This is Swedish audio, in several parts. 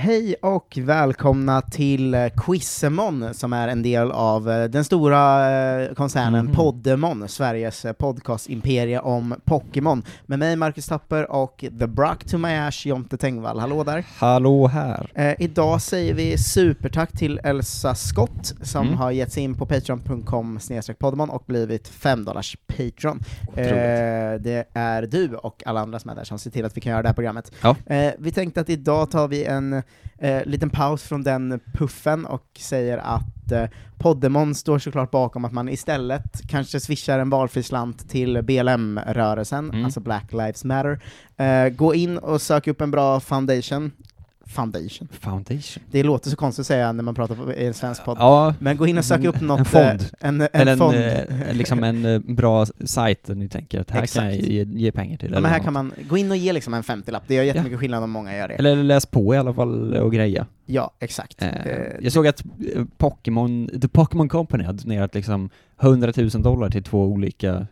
Hej och välkomna till eh, Quizemon som är en del av eh, den stora eh, koncernen Mhm. Poddemon, Sveriges eh, podcastimperie om Pokémon. Med mig Marcus Tapper och The Brock to my ash, Jonte Tengvall. Hallå där! Hallå här! Eh, idag säger vi supertack till Elsa Skott som Mm. har gett sig in på patreon.com poddemon och blivit 5 dollars patron. Eh, Otroligt. det är du och alla andra som är där som ser till att vi kan göra det här programmet. Ja. Eh, vi tänkte att idag tar vi en eh, liten paus från den puffen och säger att eh, Poddemon står såklart bakom att man istället kanske swishar en valfri slant till BLM-rörelsen, Mm. alltså Black Lives Matter. Eh, gå in och sök upp en bra foundation. Foundation? Foundation. Det låter så konstigt att säga när man pratar i en svensk podd. Ja, Men gå in och sök En- upp något... en fond. eh, En, en, eller en, fond. eh, liksom en eh, bra sajt där ni tänker att här kan jag Exakt. ge, ge pengar till. Ja, eller men här något. kan man gå in och ge liksom en 50-lapp, det gör jättemycket skillnad om många gör det. Eller läs på i alla fall och greja. Ja, exakt. Eh, Eh, jag såg att eh, Pokémon, The Pokémon Company har donerat liksom 100 000 dollar till två olika...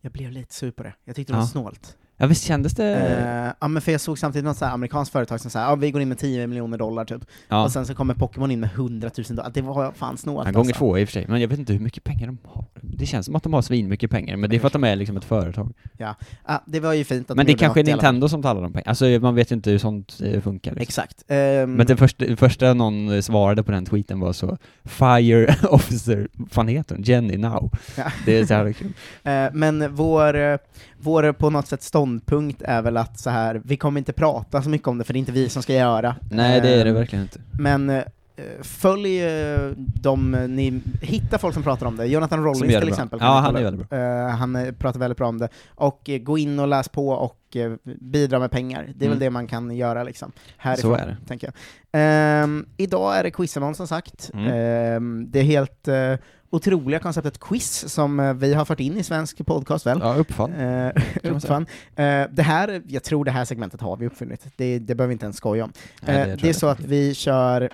Jag blev lite sur på det. Jag tyckte det var Ja. snålt. Ja visst kändes det... Eh, ja, men för jag såg samtidigt något så här amerikanskt företag som sa ja, vi går in med 10 miljoner dollar typ, ja, och sen så kommer Pokémon in med 100 000 dollar. Det var fan snålt alltså. ja, gånger två i och för sig, men jag vet inte hur mycket pengar de har. Det känns som att de har svinmycket pengar, men det är för att de är liksom ett företag. Ja, det var ju fint att Men de det gjorde kanske är något i alla Nintendo som talar om pengar. Alltså man vet ju inte hur sånt eh, funkar. fall. Liksom. Exakt. Ehm, Men det första, det första någon svarade på den tweeten var så Fire Officer, vad fan heter hon? Jenny Now. Ja. Det är så här kul. Eh, Men vår, eh, vår på något sätt ståndpunkt är väl att så här, vi kommer inte prata så mycket om det för det är inte vi som ska göra. Nej, det är det Eh, verkligen inte. Men eh, följ eh, de, ni hittar folk som pratar om det. Jonathan Som Rollins gör till det bra. exempel. kan Ja, ni han kolla är upp. väldigt Eh, han eh, pratar väldigt bra om det. Och eh, gå in och läs på och eh, bidra med pengar. Det är väl Mm. det man kan göra liksom. Härifrån, Så är det. tänker jag. Ehm, idag är det quizemon som sagt. Mm. Ehm, det är helt eh, otroliga konceptet quiz som eh, vi har fört in i svensk podcast väl? Ja, uppfann. Eh, man säga. uppfann. Eh, det här, jag tror det här segmentet har vi uppfunnit. Det, det behöver vi inte ens skoja om. Nej, Eh, tror jag det är så att definitivt. vi kör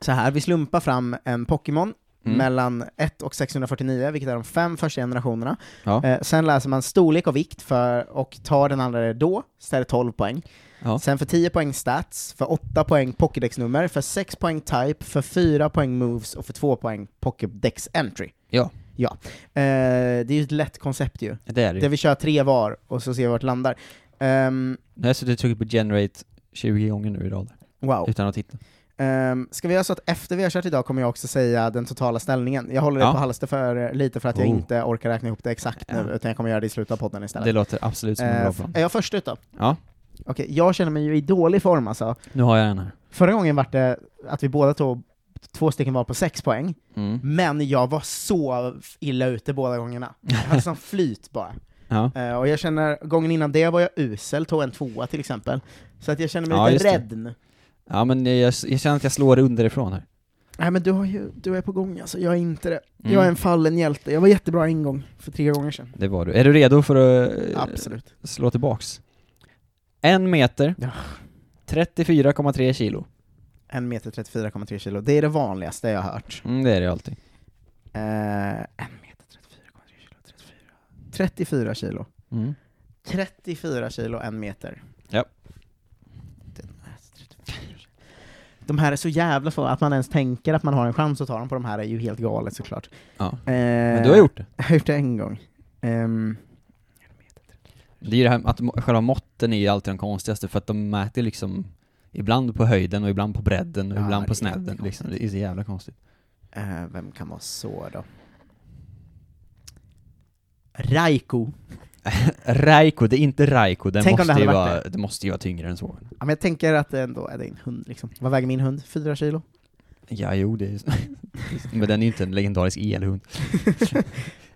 så här, vi slumpar fram en Pokémon Mm. mellan 1 och 649, vilket är de fem första generationerna. Ja. Eh, sen läser man storlek och vikt för, och tar den andra då, så är det 12 poäng. Ja. Sen för 10 poäng stats, för 8 poäng Pokédex-nummer, för 6 poäng type, för 4 poäng moves och för 2 poäng Pokédex entry. Ja. ja. Eh, det är ju ett lätt koncept ju. Det är det Där ju. vi kör tre var, och så ser vi vart det landar. Ehm, Nu har jag suttit och tryckt på generate 20 gånger nu i rad, wow. utan att titta. Um, ska vi göra så att efter vi har kört idag kommer jag också säga den totala ställningen. Jag håller det Ja. på halster för eh, lite för att jag Oh. inte orkar räkna ihop det exakt nu, Ja. utan jag kommer göra det i slutet av podden istället. Det låter absolut som en Eh, bra f- plan. är jag först ut då? Ja, Okej, jag känner mig ju i dålig form alltså. nu har jag den här. Förra gången var det att vi båda tog två stycken var på sex poäng, Mm. men jag var så illa ute båda gångerna. Jag hade sån flyt bara. Ja. Eh, och jag känner, gången innan det var jag usel, tog en tvåa till exempel. Så att jag känner mig Ja, lite just det. rädd nu. ja, men jag, jag känner att jag slår underifrån här. Nej men du, har ju, du är på gång alltså, jag är inte det. Mm. Jag är en fallen hjälte. Jag var jättebra en gång, för tre gånger sedan. Det var du. Är du redo för att eh, Absolut. slå tillbaks? En meter, Ja. 34,3 kilo. En meter 34,3 kilo. Det är det vanligaste jag har hört. Mm, det är det alltid. Eh, en meter 34,3 kilo, 34. 34 kilo. 34 kilo, en meter. Ja. Den är 34 kilo. De här är så jävla svåra, att man ens tänker att man har en chans att ta dem på de här är ju helt galet såklart. Ja. men Men du Eh. har gjort det. Jag har gjort det en gång. Ehm, Det är ju det här med att må- själva måtten är ju alltid de konstigaste för att de mäter liksom ibland på höjden och ibland på bredden och Ja, ibland det är på snedden liksom. Det är så jävla konstigt. Eh, vem kan vara så då? Raiko. Raiko, det är inte Raiko, den Tänk om det måste hade ju varit vara, det. måste ju vara tyngre än så. Ja, men jag tänker att det ändå är en hund liksom. Vad väger min hund? Fyra kilo? Ja, jo det är Men den är ju inte en legendarisk elhund. eh,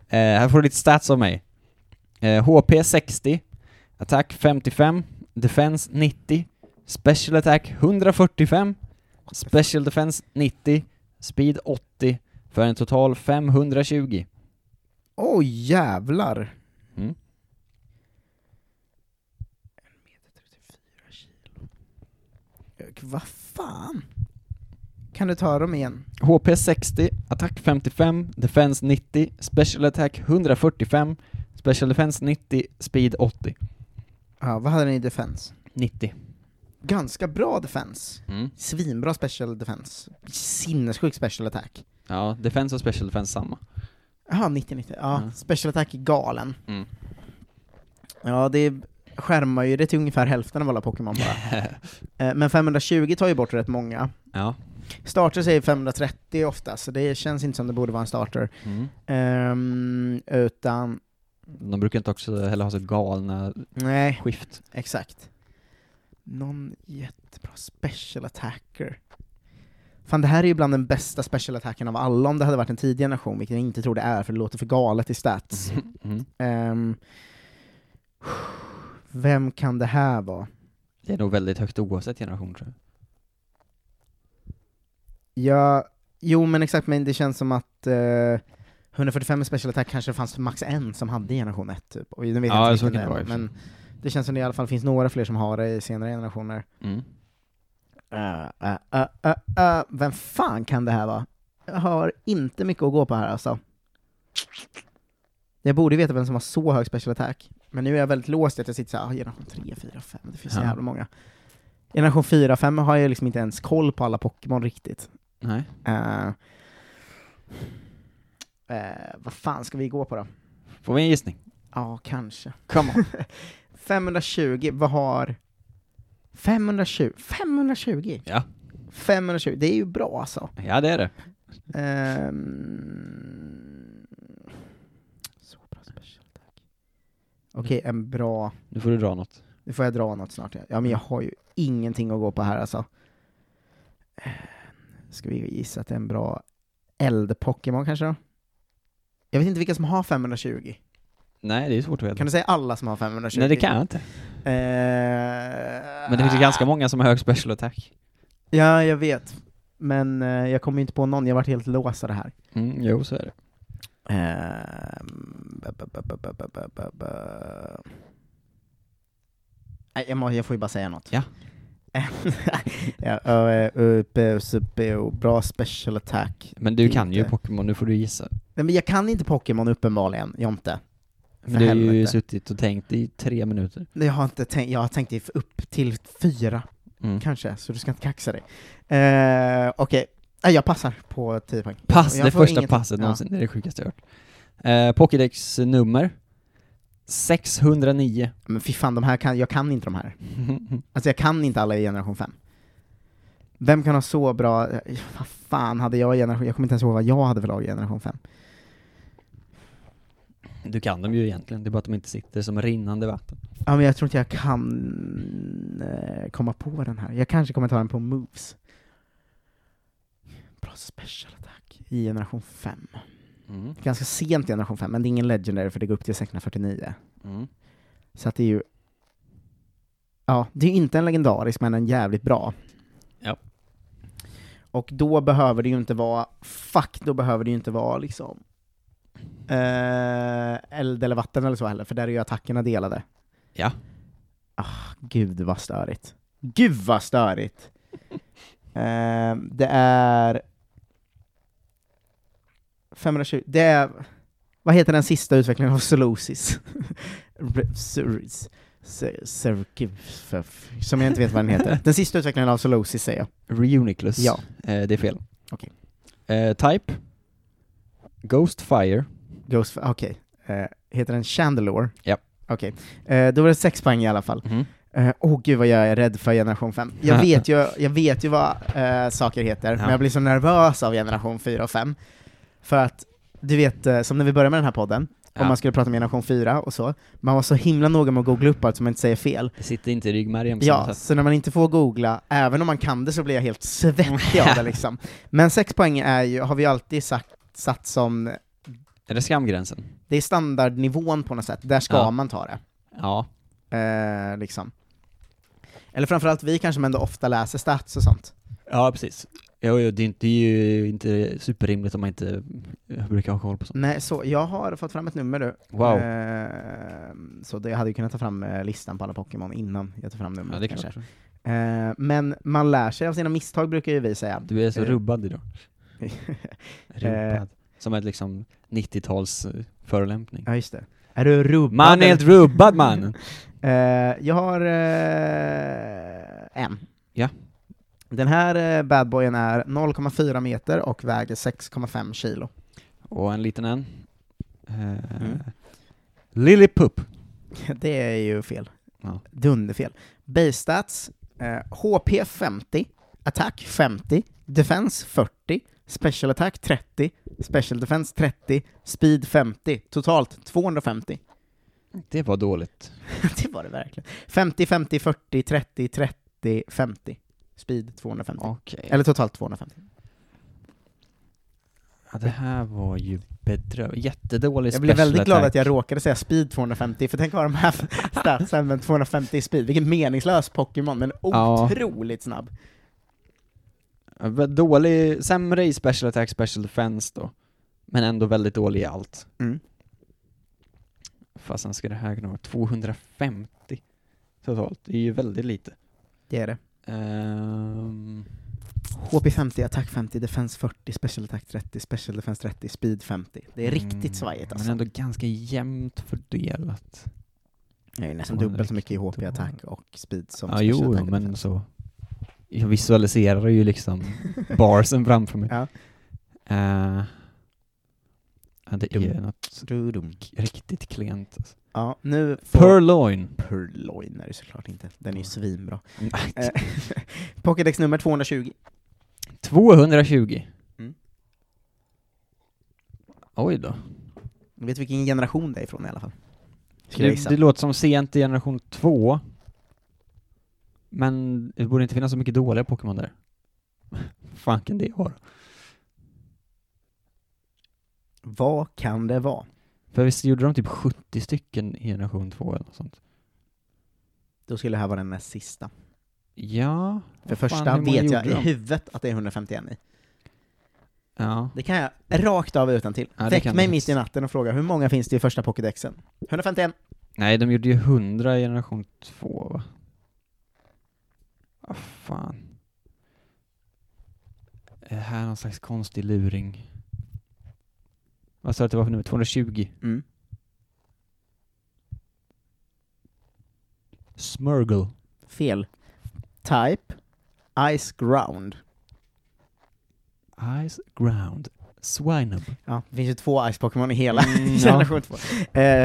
här får du lite stats av mig. Eh, HP 60, attack 55, defense 90, special attack 145, special defense 90, speed 80, för en total 520. Oj jävlar! Mm. Ök, Vad fan? Kan du ta dem igen? HP 60, attack 55, defense 90, special attack 145, special defense 90, speed 80. Ja, vad hade den i defense? 90. ganska bra defense. Mm. Svinbra special defense. Sinnessjuk special attack. Ja, defense och special defense samma. Jaha, 90-90. Ja, Ja. special attack är galen. Mm. Ja, det skärmar ju det till ungefär hälften av alla Pokémon bara. Eh, Men 520 tar ju bort rätt många. ja. Starters är ju 530 ofta, så det känns inte som det borde vara en starter. Mm. Ehm, utan, De brukar inte också heller ha så galna nej, skift. exakt. Någon jättebra special attacker. Fan, det här är ju bland den bästa special attacken av alla om det hade varit en tidig generation, vilket jag inte tror det är, för det låter för galet i stats. Mm. Ehm, vem kan det här vara? Det är nog väldigt högt oavsett generation tror jag. Ja, jo men exakt, men det känns som att eh, 145 i special attack kanske det fanns max en som hade i generation 1 typ, och nu vet Ja, jag inte så vilken kan det är, vara i och men det känns som det i alla fall finns några fler som har det i senare generationer. Mm. Eh, eh, eh, eh, eh, vem fan kan det här vara? Jag har inte mycket att gå på här alltså. Jag borde veta vem som har så hög special attack, men nu är jag väldigt låst i att jag sitter såhär, ah, generation 3, 4, 5, det finns så Ja. jävla många. Generation 4, 5 har jag liksom inte ens koll på alla Pokémon riktigt. Nej. Eh, eh, vad fan ska vi gå på då? Får vi en gissning? Ja, kanske. Come on. 520, vad har... 520? 520? Ja. 520, det är ju bra alltså. ja, det är det. Ehm, så bra special attack. Okej, en bra... Nu får du dra något. Nu får jag dra något snart. ja. Ja, men Mm. jag har ju ingenting att gå på här alltså. Eh, Ska vi gissa att det är en bra eld-Pokémon kanske då? Jag vet inte vilka som har 520. Nej, det är svårt att veta. Kan du säga alla som har Eh, 520? Nej, det kan jag inte. Men det Ah. finns ju ganska många som har hög special attack. Ja, jag vet. Men eh, jag kommer ju inte på någon, jag har varit helt låst av det här. Mm, jo, så är det. Ehm, ba, ba, ba, ba, ba, ba, ba, ba, ba. Nej, jag, må, jag får ju bara säga något. Ja. ja, eh, ö, ö, ö, b, s, b, o. bra special attack. Men du Inte. kan ju Pokémon, nu får du gissa. Nej, men jag kan inte Pokémon uppenbarligen, Jonte. För Men du har ju helvete. suttit och tänkt i tre minuter. Nej, Jag har inte tänkt, jag har tänkt i f- upp till fyra Mm. kanske, så du ska inte kaxa dig. Eh, Okej, Nej, jag passar på 10 poäng. Pass, Jag det får första ingenting. passet Ja. någonsin, det är det sjukaste jag hört. Eh, Pokédex nummer 609. Men fy fan, de här kan, jag kan inte de här. Alltså jag kan inte alla i generation 5. Vem kan ha så bra, eh, vad fan hade jag i generation, jag kommer inte ens ihåg vad jag hade för lag i generation 5. du kan dem ju egentligen, det är bara att de inte sitter som rinnande vatten. Ja men jag tror inte jag kan eh, komma på den här. Jag kanske kommer ta den på moves. Bra special attack i generation 5. Mm. Ganska sent i generation 5, men det är ingen legendary för det går upp till 649. Mm. Så att det är ju... Ja, det är ju inte en legendarisk, men en jävligt bra. Ja. Och då behöver det ju inte vara... Fuck, då behöver det ju inte vara liksom... Eh, eld eller vatten eller så heller, för där är ju attackerna delade. Ja. Ah, gud vad störigt. Gud vad störigt! Eh, det är... 520, det är... Vad heter den sista utvecklingen av Solosis? Re- Sur- Sur- Sur- Som jag inte vet vad den heter. Den sista utvecklingen av Solosis säger jag. Reuniclus. Ja. Eh, det är fel. Okej. Eh, type. Ghostfire. Ghost, okej. Eh, heter den Chandelure? Ja. Okej. Eh, då var det sex poäng i alla fall. Eh, Åh oh, gud vad jag är rädd för generation 5. Jag vet ju, jag vet ju vad eh, saker heter, Ja. men jag blir så nervös av generation 4 och 5. För att, du vet, eh, som när vi började med den här podden, Ja. om man skulle prata om generation 4 och så, man var så himla noga med att googla upp allt så man inte säger fel. Det sitter inte i ryggmärgen på Ja, samma sätt. så när man inte får googla, även om man kan det så blir jag helt svettig av det liksom. Men sex poäng är ju, har vi ju alltid sagt, satt som, Är det skamgränsen? det är standardnivån på något sätt, där ska Ja. man ta det. Ja. Eh, liksom. Eller framförallt vi kanske, men ändå ofta läser stats och sånt. Ja, precis. Jo, jo, det, är inte, det är ju inte superrimligt om man inte eh, brukar ha koll på sånt. Nej, så jag har fått fram ett nummer nu. Wow. Eh, så det, jag hade ju kunnat ta fram eh, listan på alla Pokémon innan jag tar fram numret Ja, det är kanske. klart. Eh, men man lär sig av sina misstag brukar ju vi säga. Du är så Eh. rubbad idag. Eh. Rubbad. Som ett liksom 90-tals eh, förolämpning. Ja, just det. Är du rubbad? Man är eller? helt rubbad mannen! Eh, jag har eh, en. Ja. Den här eh, badboyen är 0,4 meter och väger 6,5 kilo. Och en liten en. Eh, Mm. Lillipup. Det är ju fel. Ja. Dunderfel. Base stats, eh, HP 50, attack 50, defense 40, special attack 30, special defense 30, speed 50, totalt 250. Det var dåligt. det var det verkligen. 50, 50, 40, 30, 30, 50. Speed 250. Okej. Eller totalt 250. Ja, det här var ju bedrövligt. Jättedålig Jag blev special väldigt glad attack. att jag råkade säga speed 250, för tänk vad de här statsen med 250 i speed. Vilken meningslös Pokémon, men Ja. otroligt snabb. Ja, vä- Dålig, sämre i special attack, special defense då. Men ändå väldigt dålig i allt. Mm. Fasen ska det här kunna vara 250 totalt. Det är ju väldigt lite. Det är det. Ehm, HP 50, attack 50, defense 40, special attack 30, special defense 30, speed 50. Det är mm, riktigt svajigt alltså. Men ändå ganska jämnt fördelat. Det är ju nästan det var dubbelt så mycket i HP riktigt attack och speed som Ja, special jo, attack. jo, men så. Jag visualiserar ju liksom barsen framför mig. Ja. Eh, ja, det är Dum. något Dudum. riktigt klent. Alltså. Ja, nu får... Purloin! Purloin är det såklart inte. Den är ju svinbra. Eh. Nej, Pokédex nummer 220. 220. Mm. Oj då. Jag vet vilken generation det är ifrån i alla fall. Ska jag Det, gissa. det låter som sent i generation 2. Men det borde inte finnas så mycket dåliga Pokémon där. Fan kan det vara? Vad kan det vara? För visst gjorde de typ 70 stycken i generation 2 eller något sånt? Då skulle det här vara den näst sista. Ja. För Vad fan, första hur många vet jag gjorde i de? huvudet att det är 151 i. Ja. Det kan jag rakt av utan till. Ja, det Väck kan mig du. mitt i natten och fråga hur många finns det i första Pokédexen? 151! Nej, de gjorde ju 100 i generation 2 va? Ah, fan. Är det här någon slags konstig luring? Vad sa du att det var för nummer? 220? Mm. Smurgle. Fel. Type. Ice ground. Ice ground. Swinub. Ja, det finns ju två Ice-Pokémon i hela Mm, ja. generation 2. Eh,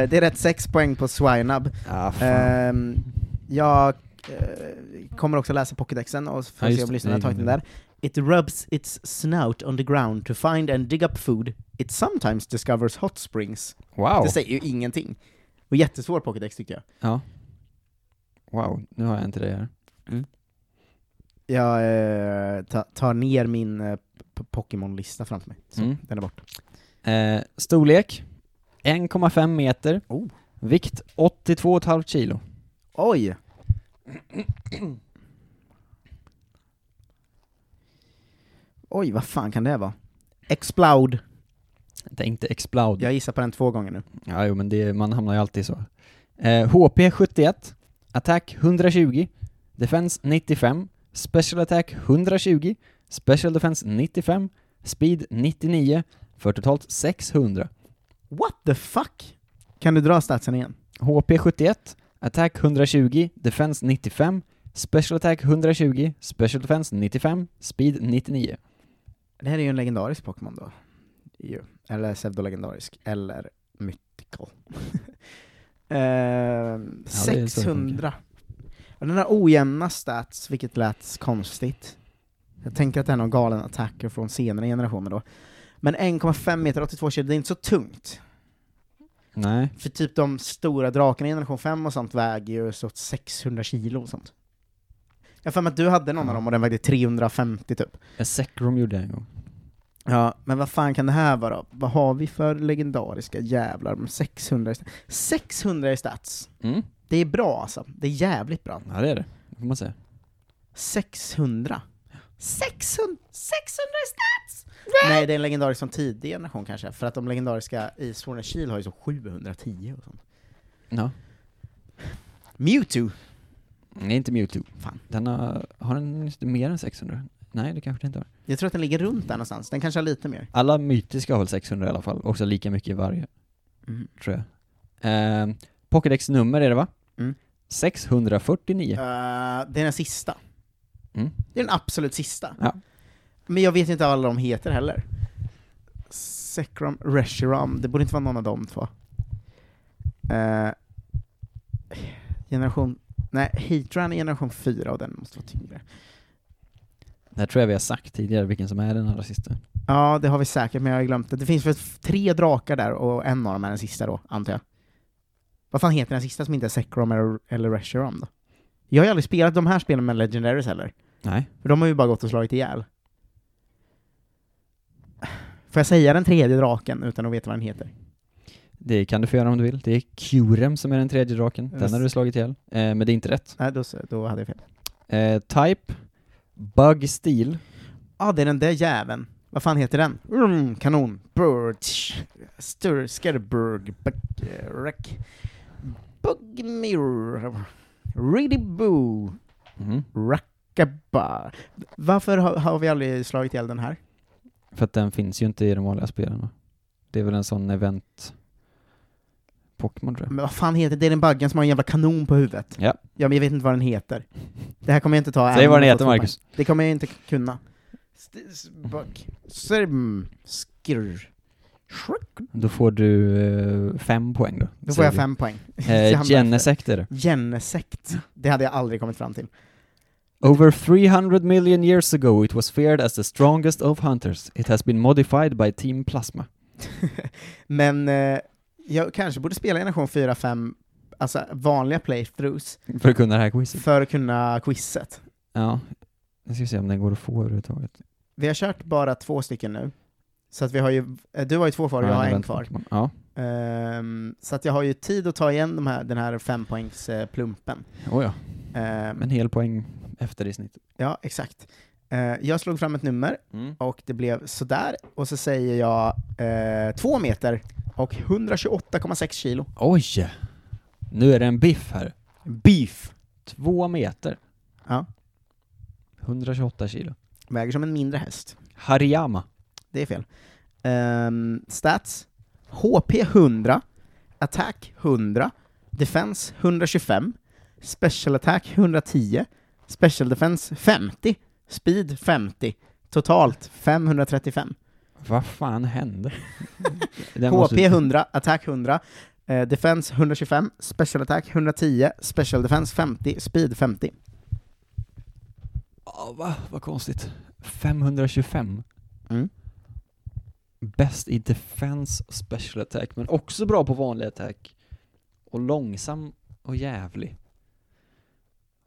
det är rätt 6 poäng på Swinub. Ah, fan. Ehm, jag eh, kommer också läsa pokédexen och får Ja, just se om det. lyssnarna har tagit den där. It rubs its snout on the ground to find and dig up food. It sometimes discovers hot springs. wow. Det säger ju ingenting. Och jättesvår pokédex tycker jag. Ja. Wow, nu har jag inte det här. Jag eh, ta, tar ner min eh, p- Pokémon-lista framför mig. Så, Mm. Den är borta. Eh, storlek? 1,5 meter. Oh. Vikt 82,5 kilo. Oj! Oj, vad fan kan det vara? Explode. Jag tänkte explode. Jag gissar på den två gånger nu. Ja, jo, men det, man hamnar ju alltid så. Eh, HP 71, attack 120, defense 95, special attack 120, special defense 95, speed 99, för totalt 600. What the fuck? Kan du dra statsen igen? HP 71, attack 120, defense 95, special attack 120, special defense 95, speed 99. Det här är ju en legendarisk Pokémon då. Ju. Eller pseudolegendarisk, eller mythical. Eh, Ehm, så det funkar. 600. Och den här ojämna stats, vilket lät konstigt. Jag tänker att det är någon galen attacker från senare generationer då. Men 1,5 meter, 82 kilo, det är inte så tungt. Nej. För typ de stora drakarna i generation 5 och sånt väger ju så 600 kilo och sånt. Jag har för mig att du hade någon av dem och den vägde 350 typ. Eh, Zekrom gjorde jag en gång. Ja, men vad fan kan det här vara då? Vad har vi för legendariska jävlar med 600 i stats? 600 i stats! Mm. Det är bra alltså. Det är jävligt bra. Ja, det är det. Det får man säga. 600. 600, 600 i stats! Nej, det är en legendarisk från tidig generation kanske, för att de legendariska i Sword and Shield har ju så 710 och sånt. Ja. Mewtwo! Nej, inte Mewtwo. Fan. Den har, har den inte mer än 600? Nej, det kanske den inte har. Jag tror att den ligger runt där någonstans, den kanske har lite mer. Alla mytiska har väl 600 i alla fall, också lika mycket i varje, Mm. tror jag. Eh, Pokédex nummer är det va? Mm. 649. Eh, det är den sista. Mm. Det är den absolut sista. Ja. Men jag vet inte vad alla de heter heller. Sekram, Reshiram, det borde inte vara någon av de två. Eh, generation... Nej, Hatran är generation 4 och den måste vara tyngre. Det här tror jag vi har sagt tidigare, vilken som är den allra sista. Ja, det har vi säkert, men jag har glömt det. Det finns väl f- tre drakar där och en av dem är den sista då, antar jag. Vad fan heter den sista som inte är Sekrom eller, eller Reshiram då? Jag har ju aldrig spelat de här spelen med Legendaries heller. Nej. För de har ju bara gått och slagit ihjäl. Får jag säga den tredje draken utan att veta vad den heter? Det kan du få göra om du vill. Det är Kurem som är den tredje draken. Den Yes. har du slagit ihjäl. Eh, men det är inte rätt. Nej, då, så- då hade jag fel. Eh, type, Bug Steel. ah, det är den där jäveln. Vad fan heter den? Mm, kanon. Birch. Stur, Skerberg. Wreck. Bugmir. Really boo. Mhm. Rackaba. Varför har, har vi aldrig slagit ihjäl den här? För att den finns ju inte i de vanliga spelen. va? Det är väl en sån event... Pokémon tror jag. Men vad fan heter det? Det är den baggen som har en jävla kanon på huvudet. Ja. Ja, men jag vet inte vad den heter. Det här kommer jag inte ta. Säg även om vad den jag heter fått- Marcus. Det kommer jag inte kunna. St- s- Buck. Sirm. Skrr. Shrek. Då får du eh, fem poäng då. Då får säger jag vi. fem poäng. Jag Eh, hamnar Genesector. efter. Genesekt. Det hade jag aldrig kommit fram till. Over 300 million years ago it was feared as the strongest of hunters. It has been modified by Team Plasma. Men eh, jag kanske borde spela generation 4, 5, alltså vanliga playthroughs, För att kunna det här quizet. för att kunna quizet. Ja. Nu ska vi se om den går att få överhuvudtaget. Vi har kört bara två stycken nu. Så att vi har ju, eh, du har ju två kvar och jag Ja, har en vänta, kvar. Pokémon. Ja. Ehm, så att jag har ju tid att ta igen de här, den här fempoängsplumpen. Oh, ja. Ehm, En hel poäng efter i snitt. Mm. ja, exakt. Eh, jag slog fram ett nummer och det blev sådär, och så säger jag eh, två meter och 128,6 kilo. Oj! Nu är det en biff här. Beef! Två meter. Ja. 128 kilo. Väger som en mindre häst. Hariyama. Det är fel. Ehm, stats. HP 100, attack 100, defense 125, special attack 110, special defense 50, speed 50, totalt 535. Vad fan hände? Den måste- HP 100, attack 100, eh, defense 125, special attack 110, special defense 50, speed 50. Ja, va? Vad konstigt. 525. Mm. Bäst i defense och special attack, men också bra på vanlig attack. Och långsam och jävlig.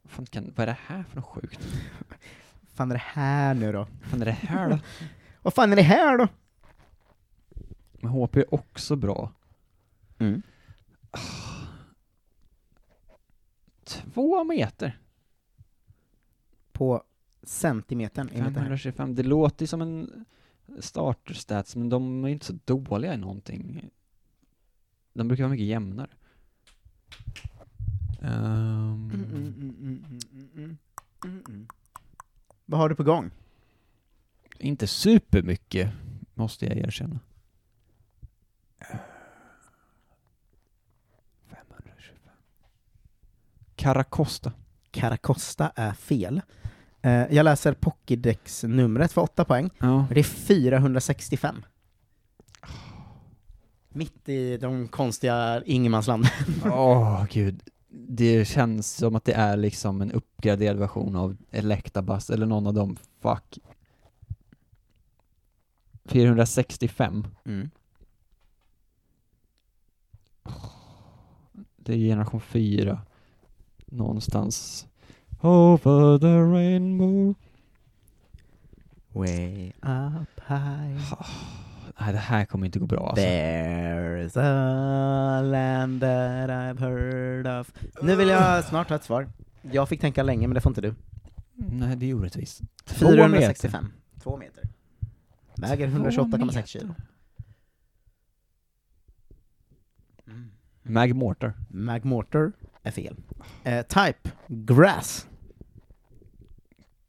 Vad Fan kan, vad är det här för något sjukt? fan är det här nu då? Vad fan är det här då? Vad fan är det här då? Men HP är också bra. Mm. Två meter? På centimetern, enligt det här. 525. Det låter ju som en starter stats, men de är ju inte så dåliga i någonting. De brukar vara mycket jämnare. Ehm, Mm, mm, mm, mm, mm, mm, mm, mm. Vad har du på gång? Inte supermycket, måste jag erkänna. 525. Caracosta. Caracosta är fel. Eh, jag läser Pokédex-numret för 8 poäng. Ja. Det är 465. Mitt i de konstiga ingenmansland. Åh gud. Det känns som att det är liksom en uppgraderad version av Electabuzz eller någon av dem. Fuck. 465. Mm. Det är generation 4. Någonstans. Over the rainbow. Way up high. Nej, det här kommer inte gå bra alltså. There's a land that I've heard of. Nu vill Ah. jag snart ha ett svar. Jag fick tänka länge, men det får inte du. Nej, det är orättvist. Två meter. 465. Två meter. Väger Två 128,6 meter. kilo. Mm. Magmortar. Magmortar är fel. Eh, type, grass.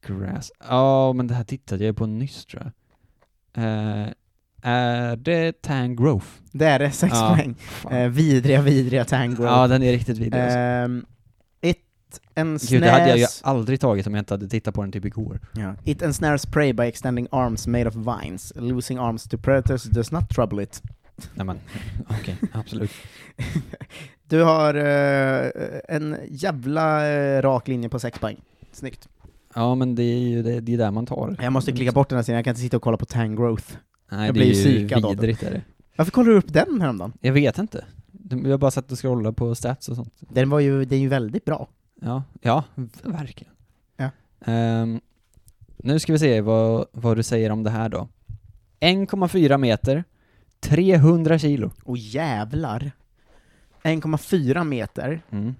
Grass. Ja, men det här tittade jag på nyss tror jag. Eh, är det Tangrowth? Det är det, sex Ja, poäng. Fan. Eh, vidriga, vidriga tango. Ja, den är riktigt vidrig. alltså. Ehm, and Gud, det hade jag ju snares... aldrig tagit om jag inte hade tittat på den typ igår. Yeah. It ensnares prey by extending arms made of vines. Losing arms to predators does not trouble it. Nej men, okej, absolut. Du har eh, en jävla eh, rak linje på sex poäng. Snyggt. Ja men det är ju det, det är där man tar. Jag måste klicka bort den här sidan, jag kan inte sitta och kolla på Tangrowth. Nej, jag det blir är ju psykad av det. vidrigt är det. Varför kollar du upp den häromdagen? Jag vet inte. De- Jag bara satt och scrollade på stats och sånt. Den var ju, den är ju väldigt bra. Ja, ja v- verkligen. Ja. Ehm, nu ska vi se vad, vad du säger om det här då. 1,4 meter, 300 kilo. Och jävlar. 1,4 meter. Mm.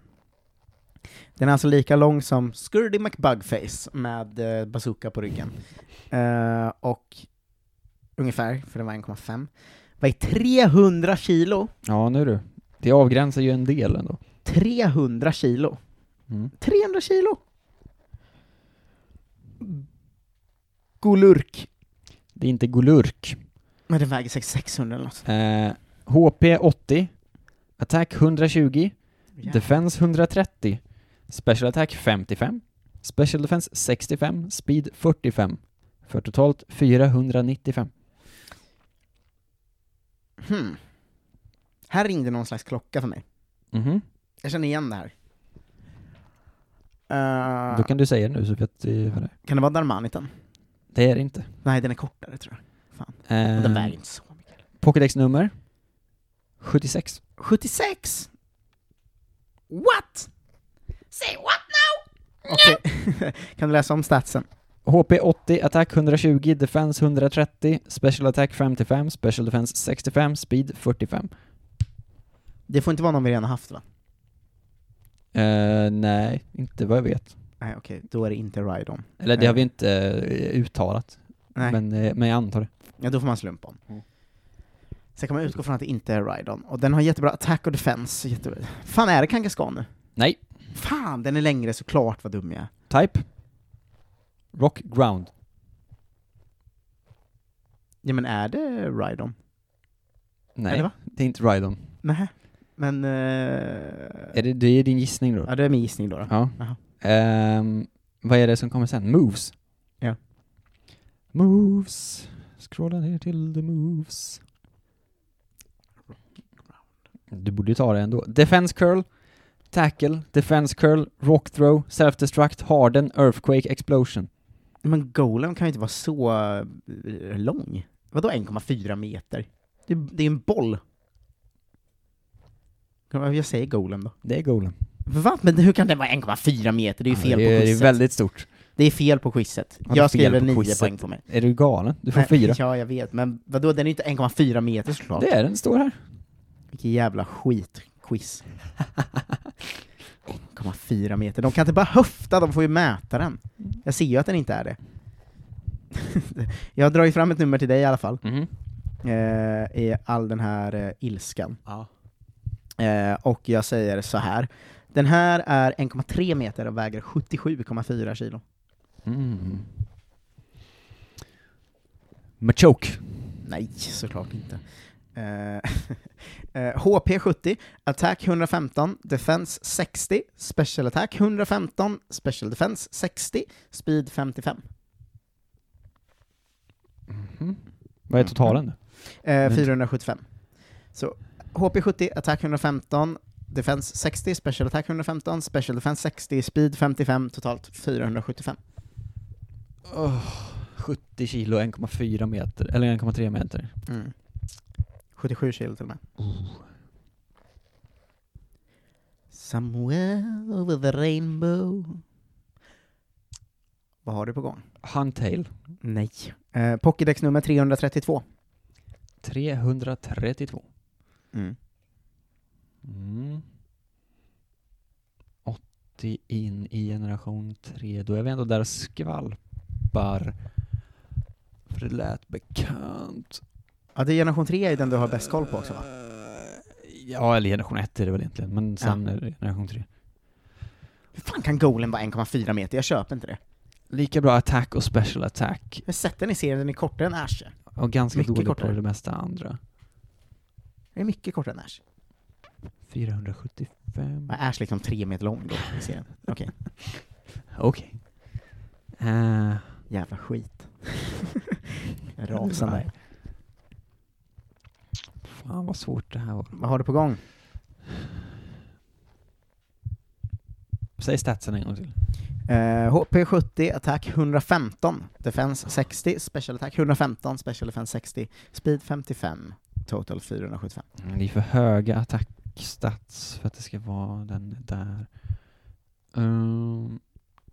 Den är alltså lika lång som Scurdy McBugface med eh, bazooka på ryggen. Eh, och ungefär, för den var 1,5. Vad är 300 kilo? Ja, nu du. Det avgränsar ju en del ändå. 300 kilo. Mm. 300 kilo! Golurk. Det är inte Golurk. Men den väger säkert 600 eller något. Eh, HP 80, Attack 120, Defense 130, Special Attack 55, Special Defense 65, Speed 45. För totalt 495. Hmm. Här ringde någon slags klocka för mig. Mhm. Jag känner igen det här. Eh, Då kan du säga det nu så vet vi vad det är. Kan det vara Darmaniten? Det är det inte. Nej, den är kortare tror jag. Eh, Och den väger inte så mycket. Pokédex nummer 76. 76? What? Say what now? Okej, kan du läsa om statsen? HP 80, Attack 120, Defense 130, Special Attack 55, Special Defense 65, Speed 45. Det får inte vara någon vi redan har haft va? Eh, nej, inte vad jag vet. Nej okej, då är det inte Rydon. Eller det har vi inte eh, uttalat, Nej, men, eh, men jag antar det. ja, då får man slumpa om. Mm. Sen kan man utgå från att det inte är Rydon, och den har jättebra attack och defense. Jättebra. Fan, är det Kangaskhan nu? Nej, Fan, den är längre såklart vad dum jag är. Type. Rock Ground. Ja men är det Rydon? Nej, Eller va? Eh. det är inte Rhydon. Nej. Men... eh, Är det, det är din gissning då? Ja det är min gissning då. då. Ja. Jaha. Ehm, vad är det som kommer sen? Moves? Ja. Moves. Scrolla ner till the moves. Du borde ju ta det ändå. Defense curl, tackle, defense curl, rock throw, self-destruct, harden, earthquake, explosion. Men Golem kan ju inte vara så eh, lång. Vadå 1,4 meter? Det, det är en boll. Jag säger Golem då. Det är golem. Va? Men hur kan det vara 1,4 meter? Det är ju fel det är, på det är quizet. väldigt stort. Det är fel på quizet. Vadå Jag fel skriver på 9 quizet? poäng på mig. Är du galen? Du får Nej, fyra. Ja, jag vet. Men vadå, den är ju inte 1,4 meter såklart. Det är den, står här. Vilken jävla skitquiz. 1,4 meter. De kan inte bara höfta, de får ju mäta den. Jag ser ju att den inte är det. jag drar ju fram ett nummer till dig i alla fall, Mhm. eh, i all den här eh, ilskan. Ja. Eh, och jag säger så här. Den här är 1,3 meter och väger 77,4 kilo. Mm. Machoke. Nej, såklart inte. Eh, eh, HP 70, Attack 115, Defense 60, Special Attack 115, Special Defense 60, Speed 55. Mhm. Vad är totalen? Eh, 475. Så HP 70, Attack 115, Defense 60, Special Attack 115, Special Defense 60, Speed 55, totalt 475. 70 kilo, 1,4 meter, eller 1,3 meter. 77 Mm. kilo till och med. Somewhere over the rainbow. Vad har du på gång? Huntail. Nej. Eh, Pokédex nummer 332. 332. Mm. 80 in i generation 3. Då är vi ändå där och skvalpar. För det lät bekant. Ja, det är generation 3 är den du har bäst koll på också va? Eh, Ja, eller generation 1 är det väl egentligen, men sen är det generation 3. Hur fan kan Golem vara 1,4 meter? Jag köper inte det. Lika bra attack och special attack. Jag har sett den i serien, den är kortare än Ash. Och ganska Mycket dålig kortare. på det mesta andra. Den är mycket kortare än Ash. 475. Men Ash liksom tre meter lång då i serien. Okej, Okej. Eh, jävla skit. Rasande. fan vad svårt det här var. Vad har du på gång? Säg statsen en gång till. Eh, HP 70, attack 115, defense 60, special attack 115, special defense 60, speed 55, total 475. Mm, Det är för höga attackstats för att det ska vara den där. Ehm,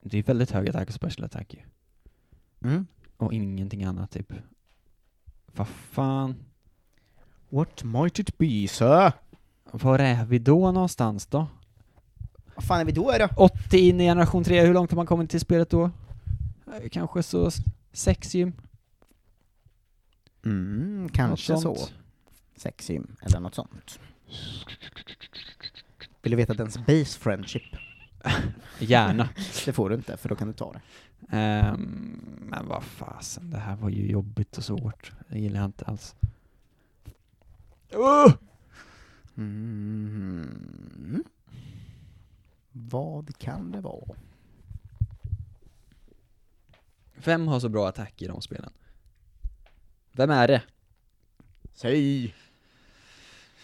det är väldigt hög attack och special attack ju. Mm. Och ingenting annat typ. Vad fan? What might it be, sir? Var är vi då någonstans då? Vad fan är vi då då? 80 in i generation 3, hur långt har man kommit till spelet då? Eh, Kanske så s- sex gym? Mm, kanske något så. sånt. Sexym, eller något sånt. Vill du veta dens base friendship? Gärna. Det får du inte, för då kan du ta det. Ehm, men vad fasen, det här var ju jobbigt och svårt. Det gillar jag inte alls. Åh! Mm. Vad kan det vara? Vem har så bra attack i de spelen? Vem är det? Säg!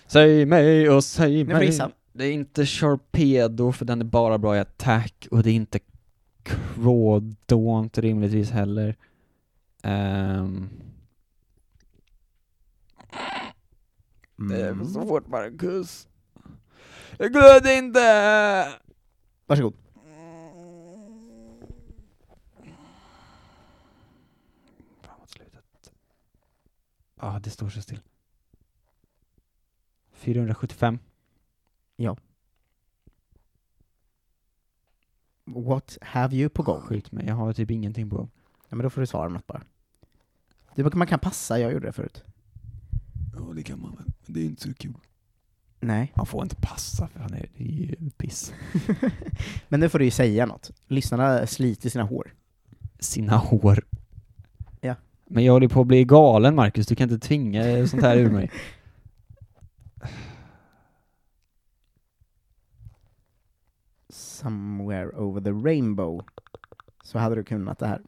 Säg mig och säg Nu får du mig. gissa. Det är inte Sharpedo för den är bara bra i attack och det är inte Crawdaunt rimligtvis heller. Ehm, Eh, Mm. fort Marcus. Jag glömde inte! Varsågod. Fan mot slutet. Ja, det står så still. 475. What have you på gång? Skjut mig, jag har typ ingenting på. Ja, men då får du svara med något bara. Du, man kan passa, jag gjorde det förut. Ja, det kan man men det är inte så kul. Nej. Han får inte passa för han är, det är ju piss. Men nu får du ju säga något. Lyssnarna sliter sina hår. Sina hår. Ja. Men jag håller på att bli galen Marcus, du kan inte tvinga sånt här ur mig. Somewhere over the rainbow. Så hade du kunnat det här.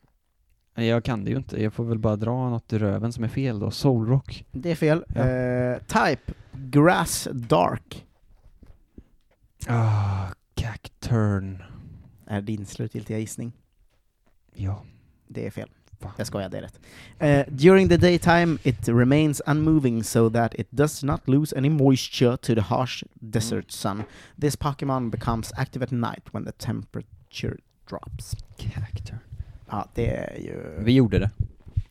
Nej, Jag kan det ju inte, jag får väl bara dra något i röven som är fel då. Solrock. Det är fel. Ja. Eh, type, grass dark. Ah, Cacturn. Är din slutgiltiga gissning. Ja. Det är fel. Fan. Jag skojar, det är rätt. Eh, during the daytime it remains unmoving so that it does not lose any moisture to the harsh Mm. desert sun. This Pokémon becomes active at night when the temperature drops. Cacturn. Ja, det är ju... Vi gjorde det.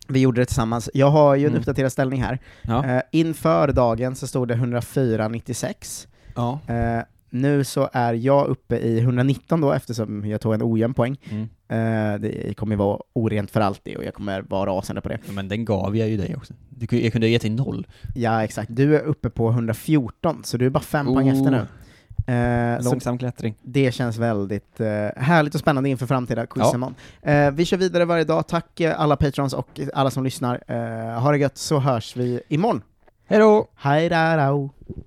Vi gjorde det tillsammans. Jag har ju en Mm. uppdaterad ställning här. Ja. Eh, inför dagen så stod det 104,96. ja. Eh, nu så är jag uppe i 119 då eftersom jag tog en ojämn poäng. Mm. Eh, det kommer ju vara orent för alltid och jag kommer vara rasande på det. Men den gav jag ju dig också. Du, kunde- jag kunde ha gett dig noll. Ja, exakt. Du är uppe på 114, så du är bara fem poäng efter nu. Eh, så Långsam klättring. det känns väldigt eh, härligt och spännande inför framtida quiz Ja. imorgon. Eh, vi kör vidare varje dag. Tack eh, alla patrons och alla som lyssnar. Eh, ha det gött, så hörs vi imorgon. Hej då! Hej då!